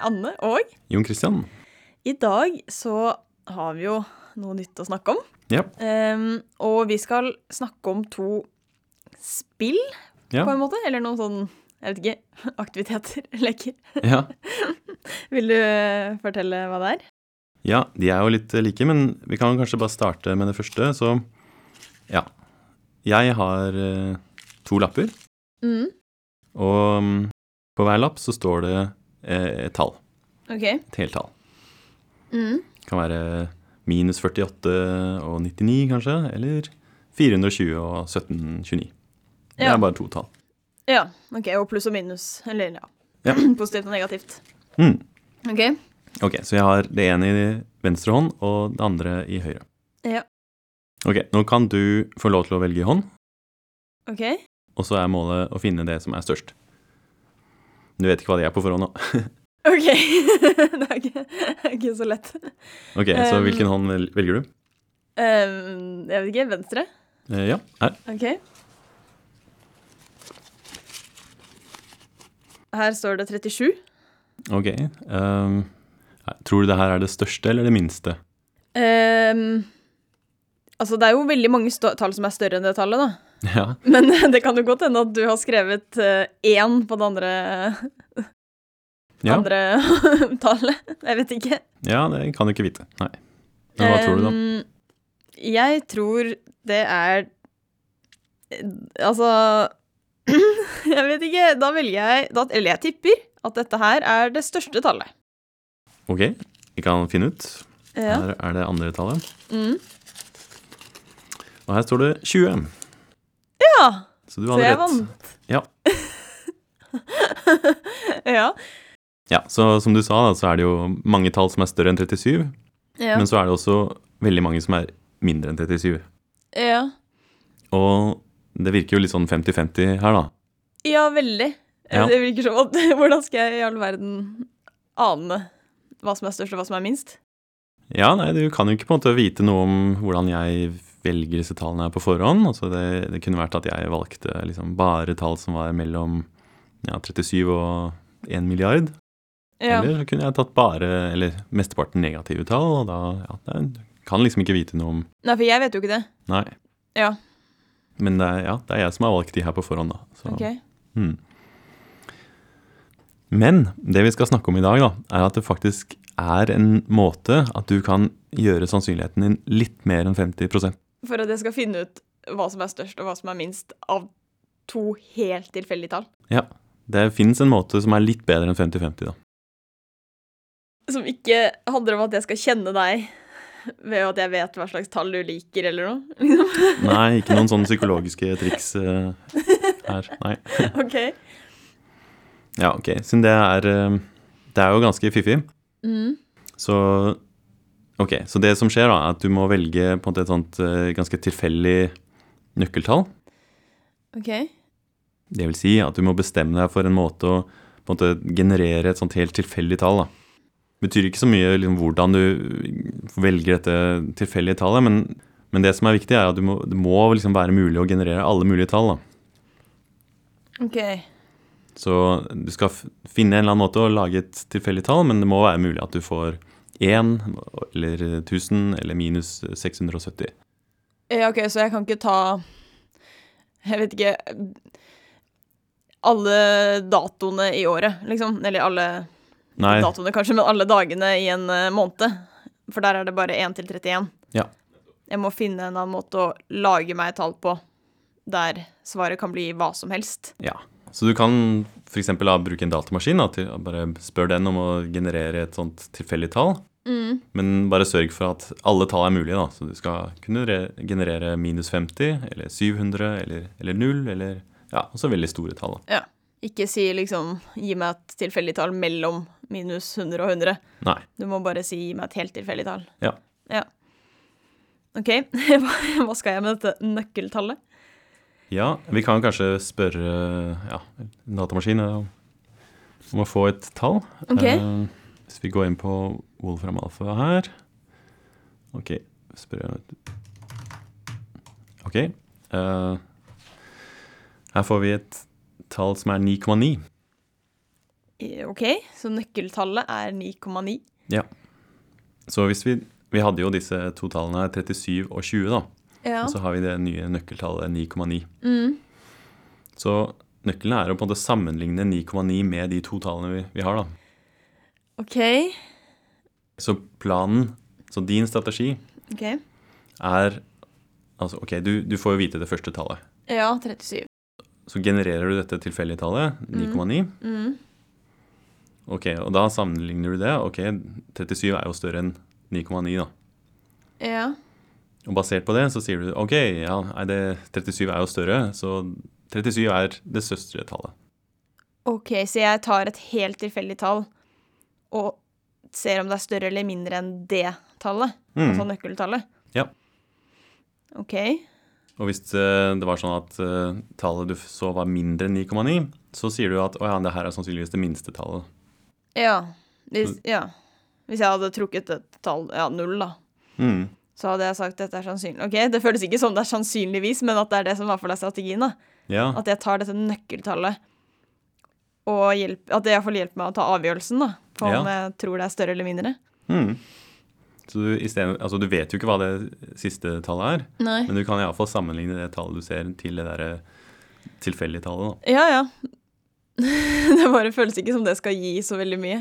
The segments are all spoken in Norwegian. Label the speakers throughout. Speaker 1: Anne og
Speaker 2: Jon Christian.
Speaker 1: I dag så har vi jo noe nytt å snakke om.
Speaker 2: Ja.
Speaker 1: Ehm, og vi skal snakke om to spill,
Speaker 2: Ja.
Speaker 1: på en måte. Eller noen sånn, jeg vet ikke, aktiviteter, leker.
Speaker 2: ja.
Speaker 1: Vil du eh, fortelle hva det er?
Speaker 2: Ja, de er jo litt eh, like, men vi kan kanskje bare starte med det første. Så ja. Jeg har eh, to lapper,
Speaker 1: Mm.
Speaker 2: og mm, på hver lapp så står det eh, et tall.
Speaker 1: Ok.
Speaker 2: Et heltall.
Speaker 1: Mm.
Speaker 2: Det kan være minus 48 og 99, kanskje, eller 420 og 1729. Det
Speaker 1: Ja.
Speaker 2: er bare to tall.
Speaker 1: Ja, ok, og pluss og minus. Eller ja,
Speaker 2: Ja.
Speaker 1: positivt og negativt.
Speaker 2: Mm.
Speaker 1: Ok.
Speaker 2: Ok, så jeg har det ene i venstre hånd og det andre i høyre.
Speaker 1: Ja.
Speaker 2: Ok, nå kan du få lov til å velge hånd,
Speaker 1: Ok.
Speaker 2: og så er målet å finne det som er størst. Du vet ikke hva det er på forhånd, da.
Speaker 1: Ok. det er ikke, det er ikke så lett.
Speaker 2: Ok, så
Speaker 1: Um.
Speaker 2: hvilken hånd vel- velger du?
Speaker 1: Ehm, jeg vet ikke. Venstre?
Speaker 2: Eh, ja, her.
Speaker 1: Ok. Her står det 37.
Speaker 2: Ok. ehm, her. tror du det her er det største eller det minste?
Speaker 1: Ehm, altså, det er jo veldig mange stå- tall som er større enn det tallet, da.
Speaker 2: Ja.
Speaker 1: Men det kan jo godt hende at du har skrevet eh, én på det andre,
Speaker 2: Ja,
Speaker 1: andre tallet. Jeg vet ikke.
Speaker 2: ja det kan du ikke vite. Nei. Men hva tror du, da?
Speaker 1: Ehm, Jeg tror det er Altså Jeg vet ikke. Da velger jeg da, Eller jeg tipper at dette her er det største tallet.
Speaker 2: Ok, vi kan finne ut.
Speaker 1: Ja.
Speaker 2: Her er det andre tallet.
Speaker 1: Mm.
Speaker 2: Og her står det 20.
Speaker 1: ja.
Speaker 2: Så du
Speaker 1: Så
Speaker 2: hadde
Speaker 1: jeg
Speaker 2: rett.
Speaker 1: vant.
Speaker 2: Ja.
Speaker 1: ja.
Speaker 2: Ja, så som du sa, da, så er det jo mange tall som er større enn 37,
Speaker 1: Ja.
Speaker 2: men så er det også veldig mange som er mindre enn 37.
Speaker 1: ja.
Speaker 2: Og det virker jo litt sånn 50-50 her, da.
Speaker 1: Ja, veldig.
Speaker 2: Ja.
Speaker 1: Det virker som at Hvordan skal jeg i all verden ane hva som er størst, og hva som er minst?
Speaker 2: Ja, nei, du kan jo ikke på en måte vite noe om hvordan jeg velger disse tallene her på forhånd. Altså det, det kunne vært at jeg valgte liksom bare tall som var mellom ja, 37 og 1 milliard.
Speaker 1: Ja.
Speaker 2: Eller så kunne jeg tatt bare, eller mesteparten negative tall, og da ja, nei, du kan liksom ikke vite noe om
Speaker 1: Nei, for jeg vet jo ikke det.
Speaker 2: Nei.
Speaker 1: Ja.
Speaker 2: Men det er, ja, det er jeg som har valgt de her på forhånd, da. Så.
Speaker 1: Ok.
Speaker 2: Mm. Men det vi skal snakke om i dag, da, er at det faktisk er en måte at du kan gjøre sannsynligheten din litt mer enn 50
Speaker 1: For at jeg skal finne ut hva som er størst, og hva som er minst, av to helt tilfeldige tall.
Speaker 2: Ja, Det fins en måte som er litt bedre enn 50-50, da.
Speaker 1: Som ikke handler om at jeg skal kjenne deg ved at jeg vet hva slags tall du liker, eller noe. liksom.
Speaker 2: Nei, ikke noen sånne psykologiske triks eh, her. Nei.
Speaker 1: OK.
Speaker 2: Ja, ok. Siden det er eh, Det er jo ganske fiffig.
Speaker 1: Mm.
Speaker 2: Så ok, så det som skjer, da, er at du må velge på en måte et sånt eh, ganske tilfeldig nøkkeltall.
Speaker 1: OK.
Speaker 2: Det vil si at du må bestemme deg for en måte å på en måte, generere et sånt helt tilfeldig tall. Da. Betyr ikke så mye liksom, hvordan du velger dette tilfeldige tallet, men, men det som er viktig, er at du må, det må liksom være mulig å generere alle mulige tall. Da.
Speaker 1: OK.
Speaker 2: Så du skal f- finne en eller annen måte å lage et tilfeldig tall, men det må være mulig at du får 1 eller 1000 eller minus 670.
Speaker 1: Ja, OK, så jeg kan ikke ta Jeg vet ikke Alle datoene i året, liksom. Eller alle
Speaker 2: Nei,
Speaker 1: datoene, kanskje, men alle dagene i en eh, måned. For der er det bare 1 til 31.
Speaker 2: Ja.
Speaker 1: Jeg må finne en annen måte å lage meg et tall på der svaret kan bli hva som helst.
Speaker 2: ja. Så du kan f.eks. bruke en datamaskin. Da, til, bare spør den om å generere et sånt tilfeldig tall.
Speaker 1: Mm.
Speaker 2: Men bare sørg for at alle tall er mulige, da. Så du skal kunne re- generere minus 50, eller 700, eller, eller 0, eller Ja, også veldig store tall. da.
Speaker 1: Ja. Ikke si liksom 'gi meg et tilfeldig tall mellom minus 100 og 100'.
Speaker 2: Nei.
Speaker 1: Du må bare si 'gi meg et helt tilfeldig tall'.
Speaker 2: Ja.
Speaker 1: ja. OK, hva hva skal jeg med dette nøkkeltallet?
Speaker 2: Ja, vi kan kanskje spørre ja, en datamaskin eh, om å få et tall.
Speaker 1: Ok.
Speaker 2: Eh, hvis vi går inn på Wolfram Alpha her Ok, spør Ok. eh, her får vi et tall som er 9,9.
Speaker 1: Eh, OK, så nøkkeltallet er 9,9.
Speaker 2: Så hvis vi, vi hadde jo disse to tallene her, 37 og 20, da.
Speaker 1: Ja.
Speaker 2: Og så har vi det nye nøkkeltallet 9,9.
Speaker 1: Mm.
Speaker 2: Så nøkkelen er å på en måte sammenligne 9,9 med de to tallene vi, vi har, da.
Speaker 1: OK.
Speaker 2: Så planen, så din strategi,
Speaker 1: ok.
Speaker 2: er Altså, OK, du, du får jo vite det første tallet.
Speaker 1: Ja, 37.
Speaker 2: Så genererer du dette tilfeldige tallet, 9,9.
Speaker 1: Mm.
Speaker 2: Ok, Og da sammenligner du det. Ok, 37 er jo større enn 9,9, da.
Speaker 1: Ja.
Speaker 2: Og basert på det så sier du ok, ja, nei, det, 37 er jo større, så 37 er det søstre tallet.
Speaker 1: OK, så jeg tar et helt tilfeldig tall og ser om det er større eller mindre enn det tallet,
Speaker 2: Mm.
Speaker 1: altså nøkkeltallet.
Speaker 2: Ja.
Speaker 1: OK.
Speaker 2: Og hvis eh, det var sånn at eh, tallet du f- så var mindre enn 9,9, så sier du at å ja, det her er sannsynligvis det minste tallet.
Speaker 1: Ja. Hvis, ja. Hvis jeg hadde trukket et tall, ja, null, da,
Speaker 2: Mm.
Speaker 1: så hadde jeg sagt dette er sannsynlig. OK, det føles ikke som det er sannsynligvis, men at det er det som i hvert fall er strategien, da.
Speaker 2: Ja,
Speaker 1: At jeg tar dette nøkkeltallet og hjelp, at det iallfall hjelper meg å ta avgjørelsen, da, på om jeg tror det er større eller mindre.
Speaker 2: mm. Så du, i stedet, altså, du vet jo ikke hva det siste tallet er,
Speaker 1: Nei.
Speaker 2: men du kan iallfall sammenligne det tallet du ser, til det derre tilfeldige tallet. Da.
Speaker 1: Ja, ja. det bare føles ikke som det skal gi så veldig mye.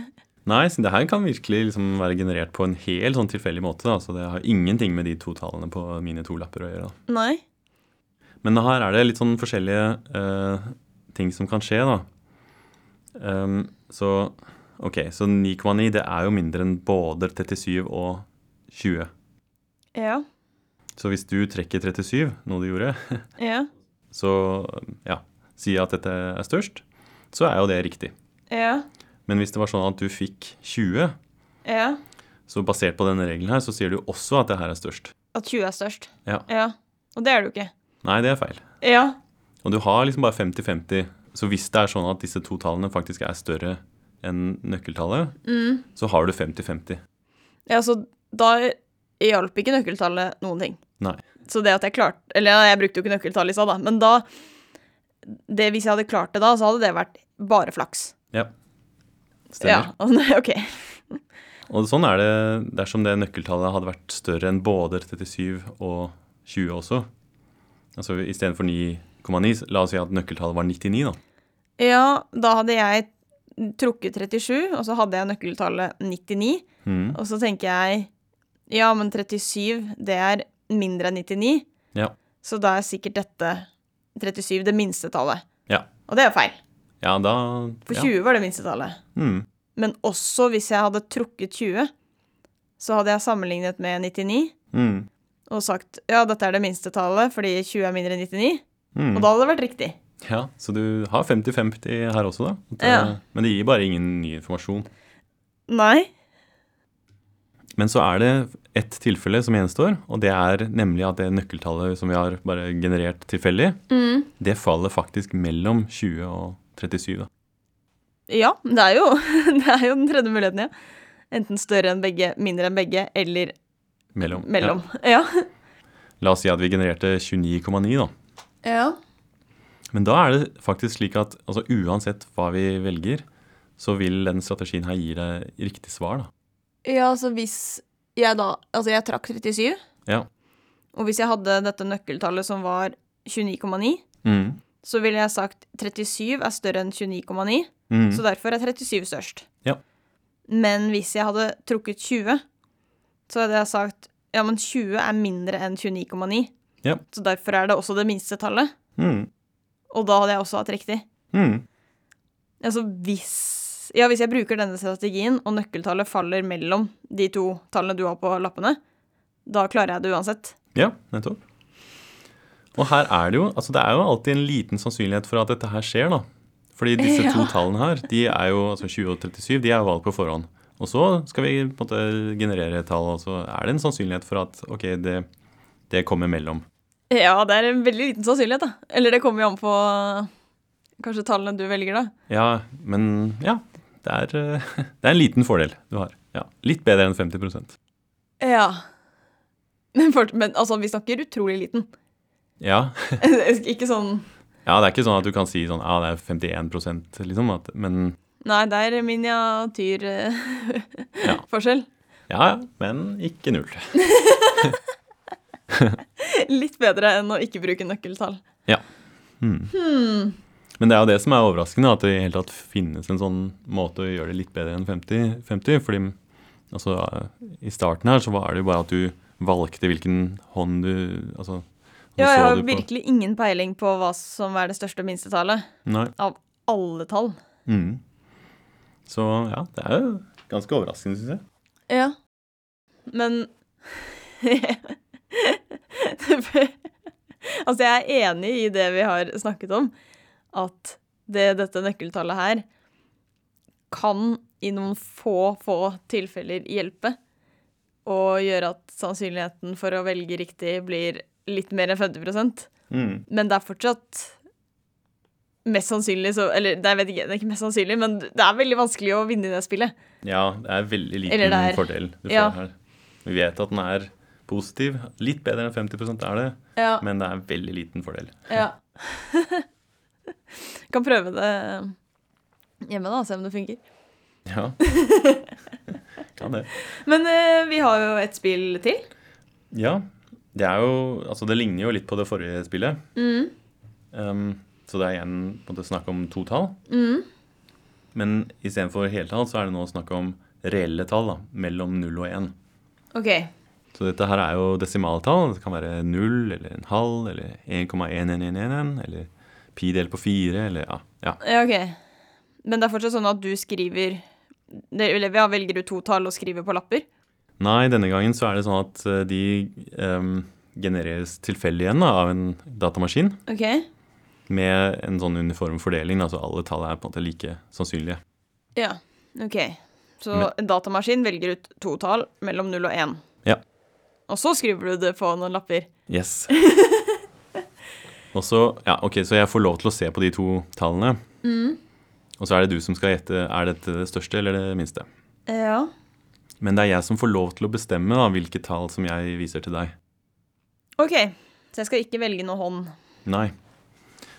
Speaker 2: Nei, så det her kan virkelig liksom være generert på en helt sånn tilfeldig måte. Da. Så det har ingenting med de to tallene på mine to lapper å gjøre. Da.
Speaker 1: Nei.
Speaker 2: Men her er det litt sånn forskjellige eh, ting som kan skje, da. Ehm, så OK, så 9,9 det er jo mindre enn både 37 og 20.
Speaker 1: Ja.
Speaker 2: Så hvis du trekker 37, noe du gjorde,
Speaker 1: Ja.
Speaker 2: så ja, si at dette er størst, så er jo det riktig.
Speaker 1: Ja.
Speaker 2: Men hvis det var sånn at du fikk 20,
Speaker 1: Ja.
Speaker 2: så basert på denne regelen her, så sier du også at det her er størst.
Speaker 1: At 20 er størst.
Speaker 2: Ja.
Speaker 1: Og det er det jo ikke.
Speaker 2: Nei, det er feil.
Speaker 1: Ja.
Speaker 2: Og du har liksom bare 50-50. Så hvis det er sånn at disse to tallene faktisk er større enn nøkkeltallet,
Speaker 1: Mm.
Speaker 2: så har du 50-50.
Speaker 1: Ja, så da hjalp ikke nøkkeltallet noen ting.
Speaker 2: Nei.
Speaker 1: Så det at jeg klarte Eller ja, jeg brukte jo ikke nøkkeltallet i stad, da, men da det, Hvis jeg hadde klart det da, så hadde det vært bare flaks.
Speaker 2: Ja. Stemmer.
Speaker 1: Ja. altså, OK.
Speaker 2: Og sånn er det dersom det nøkkeltallet hadde vært større enn både 37 og 20 også. Altså istedenfor 9,9, la oss si at nøkkeltallet var 99, da.
Speaker 1: Ja, da hadde jeg trukket 37, og så hadde jeg nøkkeltallet 99.
Speaker 2: Mhm.
Speaker 1: Og så tenker jeg Ja, men 37, det er mindre enn 99.
Speaker 2: Ja.
Speaker 1: Så da er sikkert dette 37 det minste tallet.
Speaker 2: Ja.
Speaker 1: Og det er feil.
Speaker 2: Ja, da
Speaker 1: For
Speaker 2: ja.
Speaker 1: 20 var det minste tallet.
Speaker 2: Mhm.
Speaker 1: Men også hvis jeg hadde trukket 20, så hadde jeg sammenlignet med 99
Speaker 2: Mhm.
Speaker 1: og sagt ja, dette er det minste tallet fordi 20 er mindre enn 99.
Speaker 2: Mhm.
Speaker 1: Og da hadde det vært riktig.
Speaker 2: Ja, Så du har 50-50 her også, da. At,
Speaker 1: Ja.
Speaker 2: eh, Men det gir bare ingen ny informasjon.
Speaker 1: Nei.
Speaker 2: Men så er det ett tilfelle som gjenstår, og det er nemlig at det nøkkeltallet som vi har bare generert tilfeldig, det faller faktisk mellom 20 og 37. Da.
Speaker 1: Ja, det er, jo, det er jo den tredje muligheten, ja. Enten større enn begge, mindre enn begge, eller
Speaker 2: Mellom.
Speaker 1: mellom. Ja.
Speaker 2: Ja. La oss si at vi genererte 29,9, da.
Speaker 1: Ja.
Speaker 2: Men da er det faktisk slik at altså, uansett hva vi velger, så vil den strategien her gi deg riktig svar, da.
Speaker 1: Ja, altså hvis jeg da Altså, jeg trakk 37,
Speaker 2: Ja.
Speaker 1: og hvis jeg hadde dette nøkkeltallet som var 29,9,
Speaker 2: Mm.
Speaker 1: så ville jeg sagt 37 er større enn 29,9,
Speaker 2: Mm.
Speaker 1: så derfor er 37 størst.
Speaker 2: Ja.
Speaker 1: Men hvis jeg hadde trukket 20, så hadde jeg sagt ja, men 20 er mindre enn 29,9,
Speaker 2: Ja.
Speaker 1: så derfor er det også det minste tallet.
Speaker 2: Mm.
Speaker 1: Og da hadde jeg også hatt riktig.
Speaker 2: Mm.
Speaker 1: Altså hvis Ja, hvis jeg bruker denne strategien, og nøkkeltallet faller mellom de to tallene du har på lappene, da klarer jeg det uansett.
Speaker 2: Ja, nettopp. Og her er det jo Altså, det er jo alltid en liten sannsynlighet for at dette her skjer, da. Fordi disse to
Speaker 1: Ja.
Speaker 2: tallene her, de er jo altså 20 og 37, de er jo valgt på forhånd. Og så skal vi på en måte generere et tall, og så er det en sannsynlighet for at ok, det, det kommer mellom.
Speaker 1: Ja, det er en veldig liten sannsynlighet, da. Eller det kommer jo an på kanskje tallene du velger, da.
Speaker 2: Ja, men ja. Det er, eh, det er en liten fordel du har. Ja, Litt bedre enn 50
Speaker 1: Ja. Men, for, men altså, vi snakker utrolig liten.
Speaker 2: Ja.
Speaker 1: Ikke sånn
Speaker 2: ja, det er ikke sånn at du kan si sånn ja, det er 51 liksom, at, men
Speaker 1: Nei, det er miniatyrforskjell.
Speaker 2: Ja. Ja, ja, men ikke null.
Speaker 1: Litt bedre enn å ikke bruke nøkkeltall.
Speaker 2: Ja. Hmm. Men det er jo det som er overraskende, at det i hele tatt finnes en sånn måte å gjøre det litt bedre enn 50. 50 fordi altså, i starten her så var det jo bare at du valgte hvilken hånd du Altså så
Speaker 1: Ja, jeg
Speaker 2: så
Speaker 1: har
Speaker 2: du på-
Speaker 1: virkelig ingen peiling på hva som er det største og minste tallet
Speaker 2: Nei.
Speaker 1: av alle tall.
Speaker 2: Mm. Så ja, det er jo ganske overraskende, syns jeg.
Speaker 1: Ja. Men Altså, jeg er enig i det vi har snakket om, at det, dette nøkkeltallet her kan i noen få, få tilfeller hjelpe. Og gjøre at sannsynligheten for å velge riktig blir litt mer enn 50
Speaker 2: Mm.
Speaker 1: Men det er fortsatt mest sannsynlig så Eller nei, jeg vet ikke, det er ikke mest sannsynlig, men det er veldig vanskelig å vinne i det spillet.
Speaker 2: Ja, det er veldig
Speaker 1: Eller
Speaker 2: liten
Speaker 1: det er-
Speaker 2: fordel du
Speaker 1: Ja.
Speaker 2: får her. Vi vet at den er positiv. Litt bedre enn 50 er det,
Speaker 1: Ja.
Speaker 2: men det er veldig liten fordel.
Speaker 1: Ja. kan prøve det hjemme, da, se om det funker.
Speaker 2: Ja. Kan det.
Speaker 1: Men eh, vi har jo et spill til.
Speaker 2: Ja. Det er jo Altså, det ligner jo litt på det forrige spillet. Um, så det er igjen på en måte snakk om to tall. Men istedenfor heltall så er det nå snakk om reelle tall, da. Mellom null og én.
Speaker 1: OK.
Speaker 2: Så dette her er jo desimaltall. Det kan være null eller en halv eller 1,1111 eller pi delt på fire eller ja. ja.
Speaker 1: Ja, ok. Men det er fortsatt sånn at du skriver det- Eller ja, velger du to tall og skriver på lapper?
Speaker 2: Nei, denne gangen så er det sånn at eh, de em, genereres tilfeldig igjen da, av en datamaskin
Speaker 1: OK.
Speaker 2: med en sånn uniform fordeling. Altså alle tall er på en måte like sannsynlige.
Speaker 1: Ja. OK. Så en datamaskin velger ut to tall mellom null og én.
Speaker 2: Ja.
Speaker 1: Og så skriver du det på noen lapper.
Speaker 2: Yes. Og så, ja, ok, så jeg får lov til å se på de to tallene. Og så er det du som skal gjette er dette det største eller det minste.
Speaker 1: Ja.
Speaker 2: Men det er jeg som får lov til å bestemme da, hvilke tall som jeg viser til deg.
Speaker 1: OK. Så jeg skal ikke velge noe hånd.
Speaker 2: Nei.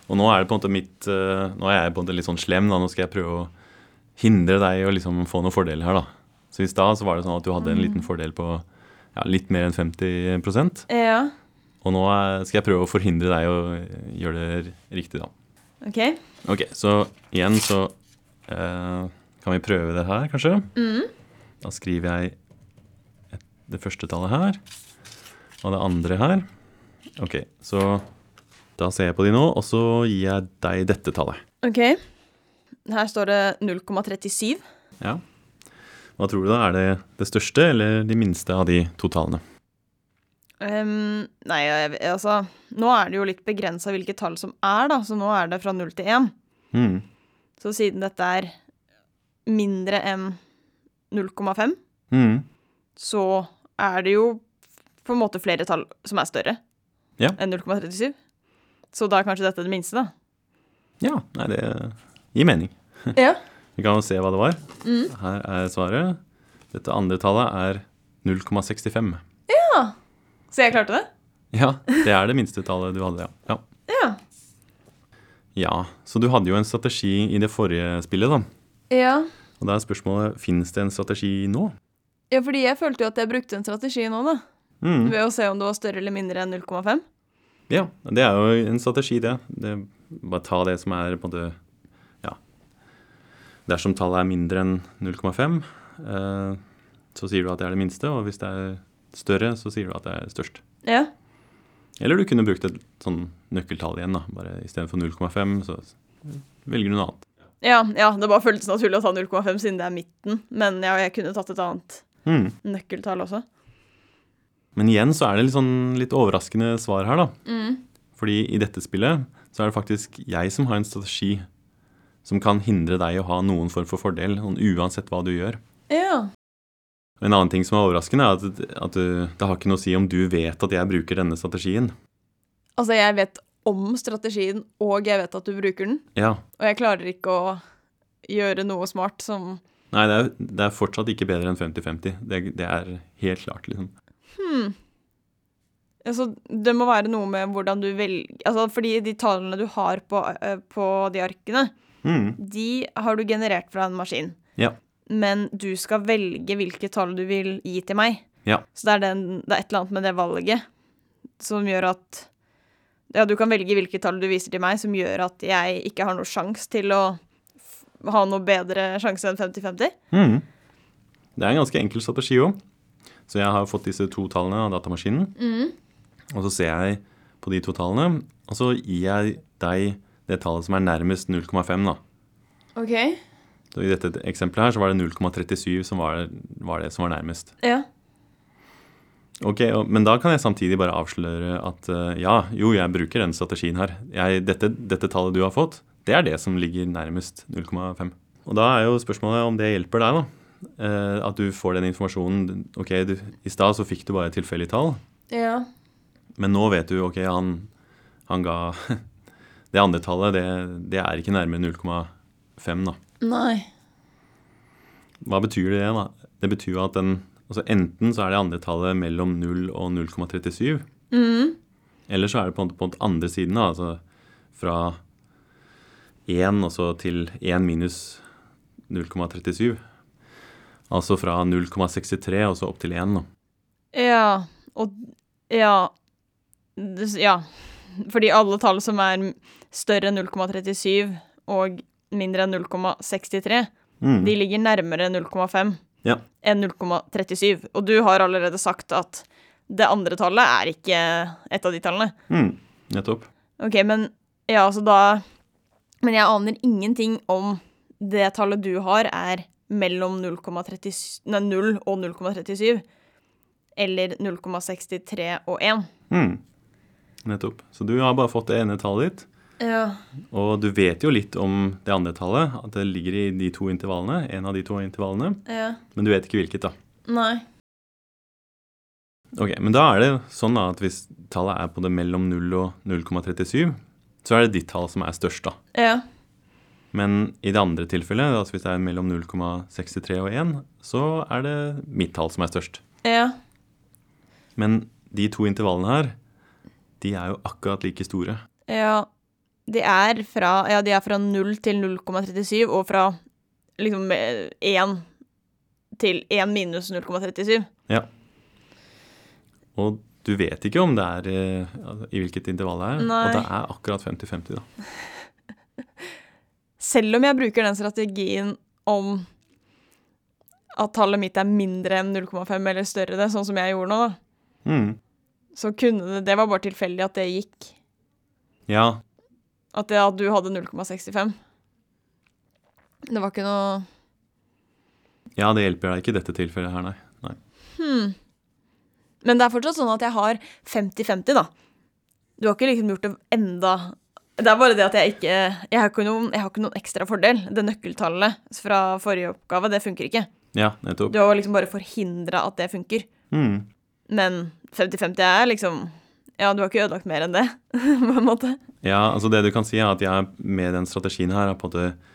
Speaker 2: Og nå er det på en måte mitt eh, Nå er jeg på en måte litt sånn slem, da. Nå skal jeg prøve å hindre deg i å liksom få noen fordeler her, da. Så i stad så var det sånn at du hadde en liten fordel på ja, litt mer enn 50
Speaker 1: Ja.
Speaker 2: Og nå er- skal jeg prøve å forhindre deg å eh, gjøre det riktig, da.
Speaker 1: OK.
Speaker 2: Ok, så igjen så eh, kan vi prøve det her, kanskje. Da skriver jeg et, det første tallet her, og det andre her. Ok, så da ser jeg på de nå, og så gir jeg deg dette tallet.
Speaker 1: OK. Her står det 0,37.
Speaker 2: Ja. Hva tror du da? Er det det største eller de minste av de to tallene?
Speaker 1: Ehm, nei, jeg, jeg- altså Nå er det jo litt begrensa hvilke tall som er, da, så nå er det fra null til én.
Speaker 2: Hmm,
Speaker 1: Så siden dette er mindre enn 0,5,
Speaker 2: hmm,
Speaker 1: så er det jo på en måte flere tall som er større
Speaker 2: Ja.
Speaker 1: enn 0,37. Så da er kanskje dette det minste, da.
Speaker 2: Ja, nei, det gir mening.
Speaker 1: Ja.
Speaker 2: Vi kan jo se hva det var. Her er svaret. Dette andre tallet er 0,65.
Speaker 1: Så jeg klarte det?
Speaker 2: Ja, det er det minste tallet du hadde, ja. ja.
Speaker 1: Ja.
Speaker 2: Ja, så du hadde jo en strategi i det forrige spillet, da.
Speaker 1: Ja,
Speaker 2: Og da er spørsmålet fins det en strategi nå?
Speaker 1: fordi jeg følte jo at jeg brukte en strategi nå, da.
Speaker 2: Mm.
Speaker 1: Ved å se om det var større eller mindre enn 0,5.
Speaker 2: Ja, det er jo en strategi, det. det. Bare ta det som er på en måte Ja. Dersom tallet er mindre enn 0,5, eh, så sier du at det er det minste. Og hvis det er større, så sier du at det er størst.
Speaker 1: Ja.
Speaker 2: Eller du kunne brukt et sånn nøkkeltall igjen, da. Bare istedenfor 0,5, så velger du noe annet.
Speaker 1: Ja, ja, det bare føltes naturlig å ta 0,5 siden det er midten. Men ja, jeg kunne tatt et annet
Speaker 2: Mm.
Speaker 1: nøkkeltall også.
Speaker 2: Men igjen så er det litt, sånn, litt overraskende svar her, da. Fordi i dette spillet så er det faktisk jeg som har en strategi som kan hindre deg å ha noen form for fordel, sånn uansett hva du gjør.
Speaker 1: Ja.
Speaker 2: Og En annen ting som er overraskende, er at, at du, det har ikke noe å si om du vet at jeg bruker denne strategien.
Speaker 1: Altså, jeg vet om strategien, og jeg vet at du bruker den.
Speaker 2: Ja.
Speaker 1: Og jeg klarer ikke å gjøre noe smart som
Speaker 2: Nei, det er, det er fortsatt ikke bedre enn 50-50. Det, det er helt klart, liksom.
Speaker 1: Altså, det må være noe med hvordan du velger Altså, fordi de tallene du har på, eh, på de arkene,
Speaker 2: Mm.
Speaker 1: De har du generert fra en maskin.
Speaker 2: Ja.
Speaker 1: Men du skal velge hvilke tall du vil gi til meg.
Speaker 2: Ja.
Speaker 1: Så det er, den, det er et eller annet med det valget som gjør at Ja, du kan velge hvilke tall du viser til meg, som gjør at jeg ikke har noe sjanse til å f- ha noe bedre sjanse enn 50-50.
Speaker 2: Mm. Det er en ganske enkel strategi òg. Så jeg har fått disse to tallene av datamaskinen. Og så ser jeg på de to tallene, og så gir jeg deg det tallet som er nærmest 0,5. da.
Speaker 1: OK.
Speaker 2: Så I dette eksempelet her så var det 0,37 som var, var det som var nærmest.
Speaker 1: Ja.
Speaker 2: Ok, og, Men da kan jeg samtidig bare avsløre at eh, ja, jo, jeg bruker den strategien her. Jeg, dette, dette tallet du har fått, det er det som ligger nærmest 0,5. Og da er jo spørsmålet om det hjelper deg, da. Eh, at du får den informasjonen. Ok, du, i stad så fikk du bare et tilfeldig tall,
Speaker 1: Ja.
Speaker 2: men nå vet du ok, han, han ga Det andre tallet, det, det er ikke nærmere 0,5, da.
Speaker 1: Nei.
Speaker 2: Hva betyr det, da? Det betyr jo at den Altså enten så er det andre tallet mellom 0 og 0,37.
Speaker 1: Mm.
Speaker 2: Eller så er det på, en- på den andre siden, da, altså fra 1 og så til 1 minus 0,37. Altså fra 0,63 og så opp til 1. Da.
Speaker 1: Ja, og Ja. Det- Ja. Fordi alle tall som er større enn 0,37 og mindre enn 0,63,
Speaker 2: Mm.
Speaker 1: de ligger nærmere 0,5
Speaker 2: Ja.
Speaker 1: enn 0,37. Og du har allerede sagt at det andre tallet er ikke et av de tallene.
Speaker 2: Mm. Nettopp.
Speaker 1: OK, men Ja, altså da Men jeg aner ingenting om det tallet du har, er mellom 0,37 Nei, 0 og 0,37. Eller 0,63 og 1.
Speaker 2: Mm. Nettopp. Så du har bare fått det ene tallet ditt.
Speaker 1: Ja.
Speaker 2: Og du vet jo litt om det andre tallet, at det ligger i de to intervallene, en av de to intervallene,
Speaker 1: ja.
Speaker 2: men du vet ikke hvilket, da.
Speaker 1: Nei.
Speaker 2: Ok, Men da er det sånn da at hvis tallet er på det mellom 0 og 0,37, så er det ditt tall som er størst, da.
Speaker 1: Ja.
Speaker 2: Men i det andre tilfellet, altså hvis det er mellom 0,63 og 1, så er det mitt tall som er størst.
Speaker 1: Ja.
Speaker 2: Men de to intervallene her, de er jo akkurat like store.
Speaker 1: ja. De er fra Ja, de er fra 0 til 0,37, og fra liksom eh, 1 til 1 minus 0,37.
Speaker 2: Og du vet ikke om det er eh, altså, i hvilket intervall det er.
Speaker 1: Nei.
Speaker 2: Og det er akkurat 50-50, da.
Speaker 1: Selv om jeg bruker den strategien om at tallet mitt er mindre enn 0,5 eller større det, sånn som jeg gjorde nå, da,
Speaker 2: Mm.
Speaker 1: så kunne det Det var bare tilfeldig at det gikk.
Speaker 2: Ja,
Speaker 1: At, det, at du hadde 0,65. Det var ikke noe
Speaker 2: ja, det hjelper deg ikke i dette tilfellet her, nei. nei.
Speaker 1: Hmm. Men det er fortsatt sånn at jeg har 50-50, da. Du har ikke liksom gjort det enda Det er bare det at jeg ikke Jeg har ikke noen, jeg har ikke noen ekstra fordel. Det nøkkeltallet fra forrige oppgave, det funker ikke.
Speaker 2: Ja, nettopp.
Speaker 1: Du har liksom bare forhindra at det funker.
Speaker 2: Mm.
Speaker 1: Men 50-50 er liksom Ja, du har ikke ødelagt mer enn det, på en måte.
Speaker 2: Ja, altså det du kan si er at jeg med den strategien her har på en måte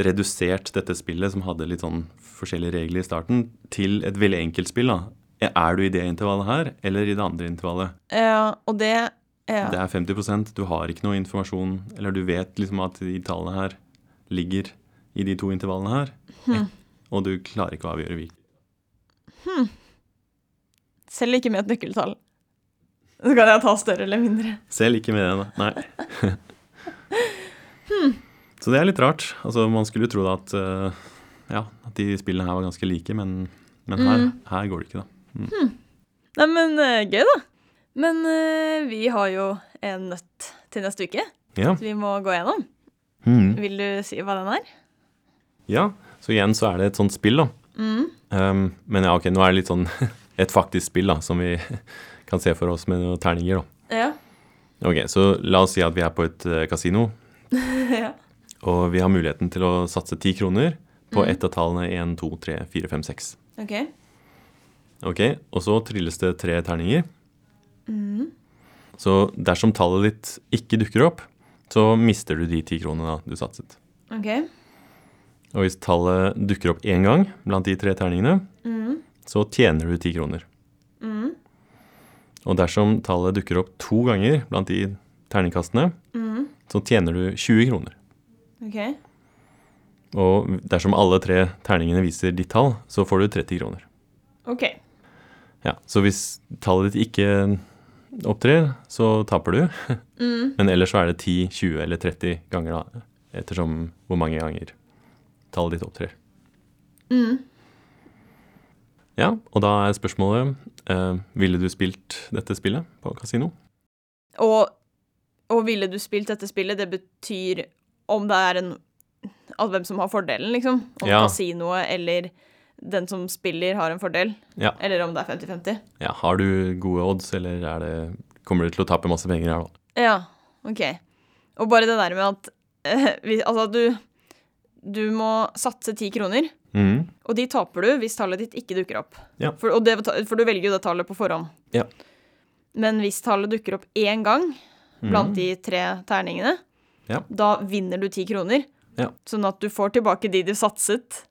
Speaker 2: redusert dette spillet, som hadde litt sånn forskjellige regler i starten, til et veldig enkelt spill. da. Er du i det intervallet her, eller i det andre intervallet?
Speaker 1: Ja, og det ja.
Speaker 2: Det er 50 du har ikke noe informasjon, eller du vet liksom at de tallene her ligger i de to intervallene her, og du klarer ikke å avgjøre hvilket.
Speaker 1: Selv ikke med et nøkkeltall. Så kan jeg ta større eller mindre.
Speaker 2: Selv ikke med det, da. Nei. Så det er litt rart. Altså, man skulle jo tro da at, eh, ja, at de spillene her var ganske like, men, men her, her går det ikke, da.
Speaker 1: Nei, men eh, gøy, da. Men eh, vi har jo en nøtt til neste uke
Speaker 2: Ja. Hmm.
Speaker 1: vi må gå gjennom. Vil du si hva den er?
Speaker 2: ja. Så igjen så er det et sånt spill, da. Um, men ja, ok, nå er det litt sånn et faktisk spill, da, som vi kan se for oss med noen terninger, da.
Speaker 1: Ja.
Speaker 2: Ok, så la oss si at vi er på et eh, kasino,
Speaker 1: ja.
Speaker 2: og vi har muligheten til å satse ti kroner på ett av tallene 1, 2, 3, 4, 5, 6.
Speaker 1: OK.
Speaker 2: Ok, og så trilles det tre terninger. Så dersom tallet ditt ikke dukker opp, så mister du de ti kronene da du satset.
Speaker 1: ok.
Speaker 2: Og hvis tallet dukker opp én gang blant de tre terningene, så tjener du ti kroner. Og dersom tallet dukker opp to ganger blant de terningkastene, så tjener du 20 kroner.
Speaker 1: ok.
Speaker 2: Og dersom alle tre terningene viser ditt tall, så får du 30 kroner.
Speaker 1: OK.
Speaker 2: Ja, Så hvis tallet ditt ikke opptrer, så taper du.
Speaker 1: Mm.
Speaker 2: Men ellers så er det 10, 20 eller 30 ganger, da. Ettersom hvor mange ganger tallet ditt opptrer.
Speaker 1: Mm.
Speaker 2: Ja, og da er spørsmålet eh, Ville du spilt dette spillet på kasino?
Speaker 1: Og, og ville du spilt dette spillet, det betyr om det er en At hvem som har fordelen, liksom. Om
Speaker 2: Ja.
Speaker 1: kasinoet eller den som spiller, har en fordel.
Speaker 2: Ja.
Speaker 1: Eller om det er 50-50.
Speaker 2: Ja, Har du gode odds, eller er det, kommer du til å tape masse penger her, da?
Speaker 1: Ja, OK. Og bare det der med at eh, vi, Altså, at du Du må satse ti kroner,
Speaker 2: Mhm.
Speaker 1: og de taper du hvis tallet ditt ikke dukker opp.
Speaker 2: Ja.
Speaker 1: For, og det, for du velger jo det tallet på forhånd.
Speaker 2: Ja.
Speaker 1: Men hvis tallet dukker opp én gang blant de tre terningene,
Speaker 2: Mm. Ja.
Speaker 1: da vinner du ti kroner.
Speaker 2: Ja.
Speaker 1: Sånn at du får tilbake de du satset,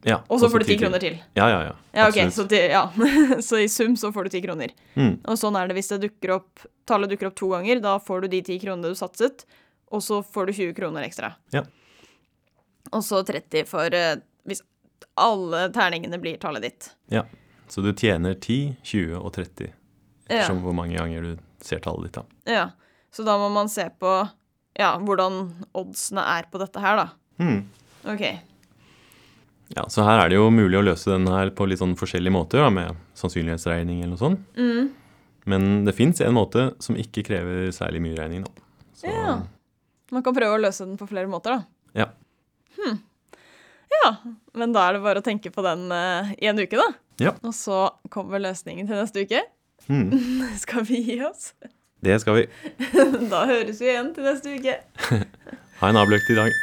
Speaker 2: Ja,
Speaker 1: og så
Speaker 2: også
Speaker 1: får du ti
Speaker 2: ti
Speaker 1: kroner til.
Speaker 2: Ja, ja, ja.
Speaker 1: Ja, ok,
Speaker 2: Absolutt.
Speaker 1: så, ti, ja. så i sum så får du ti kroner.
Speaker 2: Mhm.
Speaker 1: Og sånn er det hvis det dukker opp, tallet dukker opp to ganger. Da får du de ti kronene du satset, og så får du 20 kroner ekstra.
Speaker 2: Ja.
Speaker 1: Og så 30 for eh, hvis alle terningene blir tallet ditt.
Speaker 2: Ja, så du tjener 10, 20 og 30
Speaker 1: Ja.
Speaker 2: ettersom hvor mange ganger du ser tallet ditt. da.
Speaker 1: Ja. Så da må man se på ja, hvordan oddsene er på dette her, da. OK.
Speaker 2: Ja, Så her er det jo mulig å løse den her på litt sånn forskjellige måter, da, med sannsynlighetsregning eller noe sånt.
Speaker 1: Mm.
Speaker 2: Men det fins en måte som ikke krever særlig mye regning, da. Så,
Speaker 1: Ja. Man kan prøve å løse den på flere måter, da.
Speaker 2: ja.
Speaker 1: Ja, men da er det bare å tenke på den eh, i en uke, da.
Speaker 2: Ja.
Speaker 1: Og så kommer løsningen til neste uke.
Speaker 2: Mhm.
Speaker 1: Skal vi gi oss?
Speaker 2: Det skal vi.
Speaker 1: Da høres vi igjen til neste uke.
Speaker 2: Ha en avløkt i dag.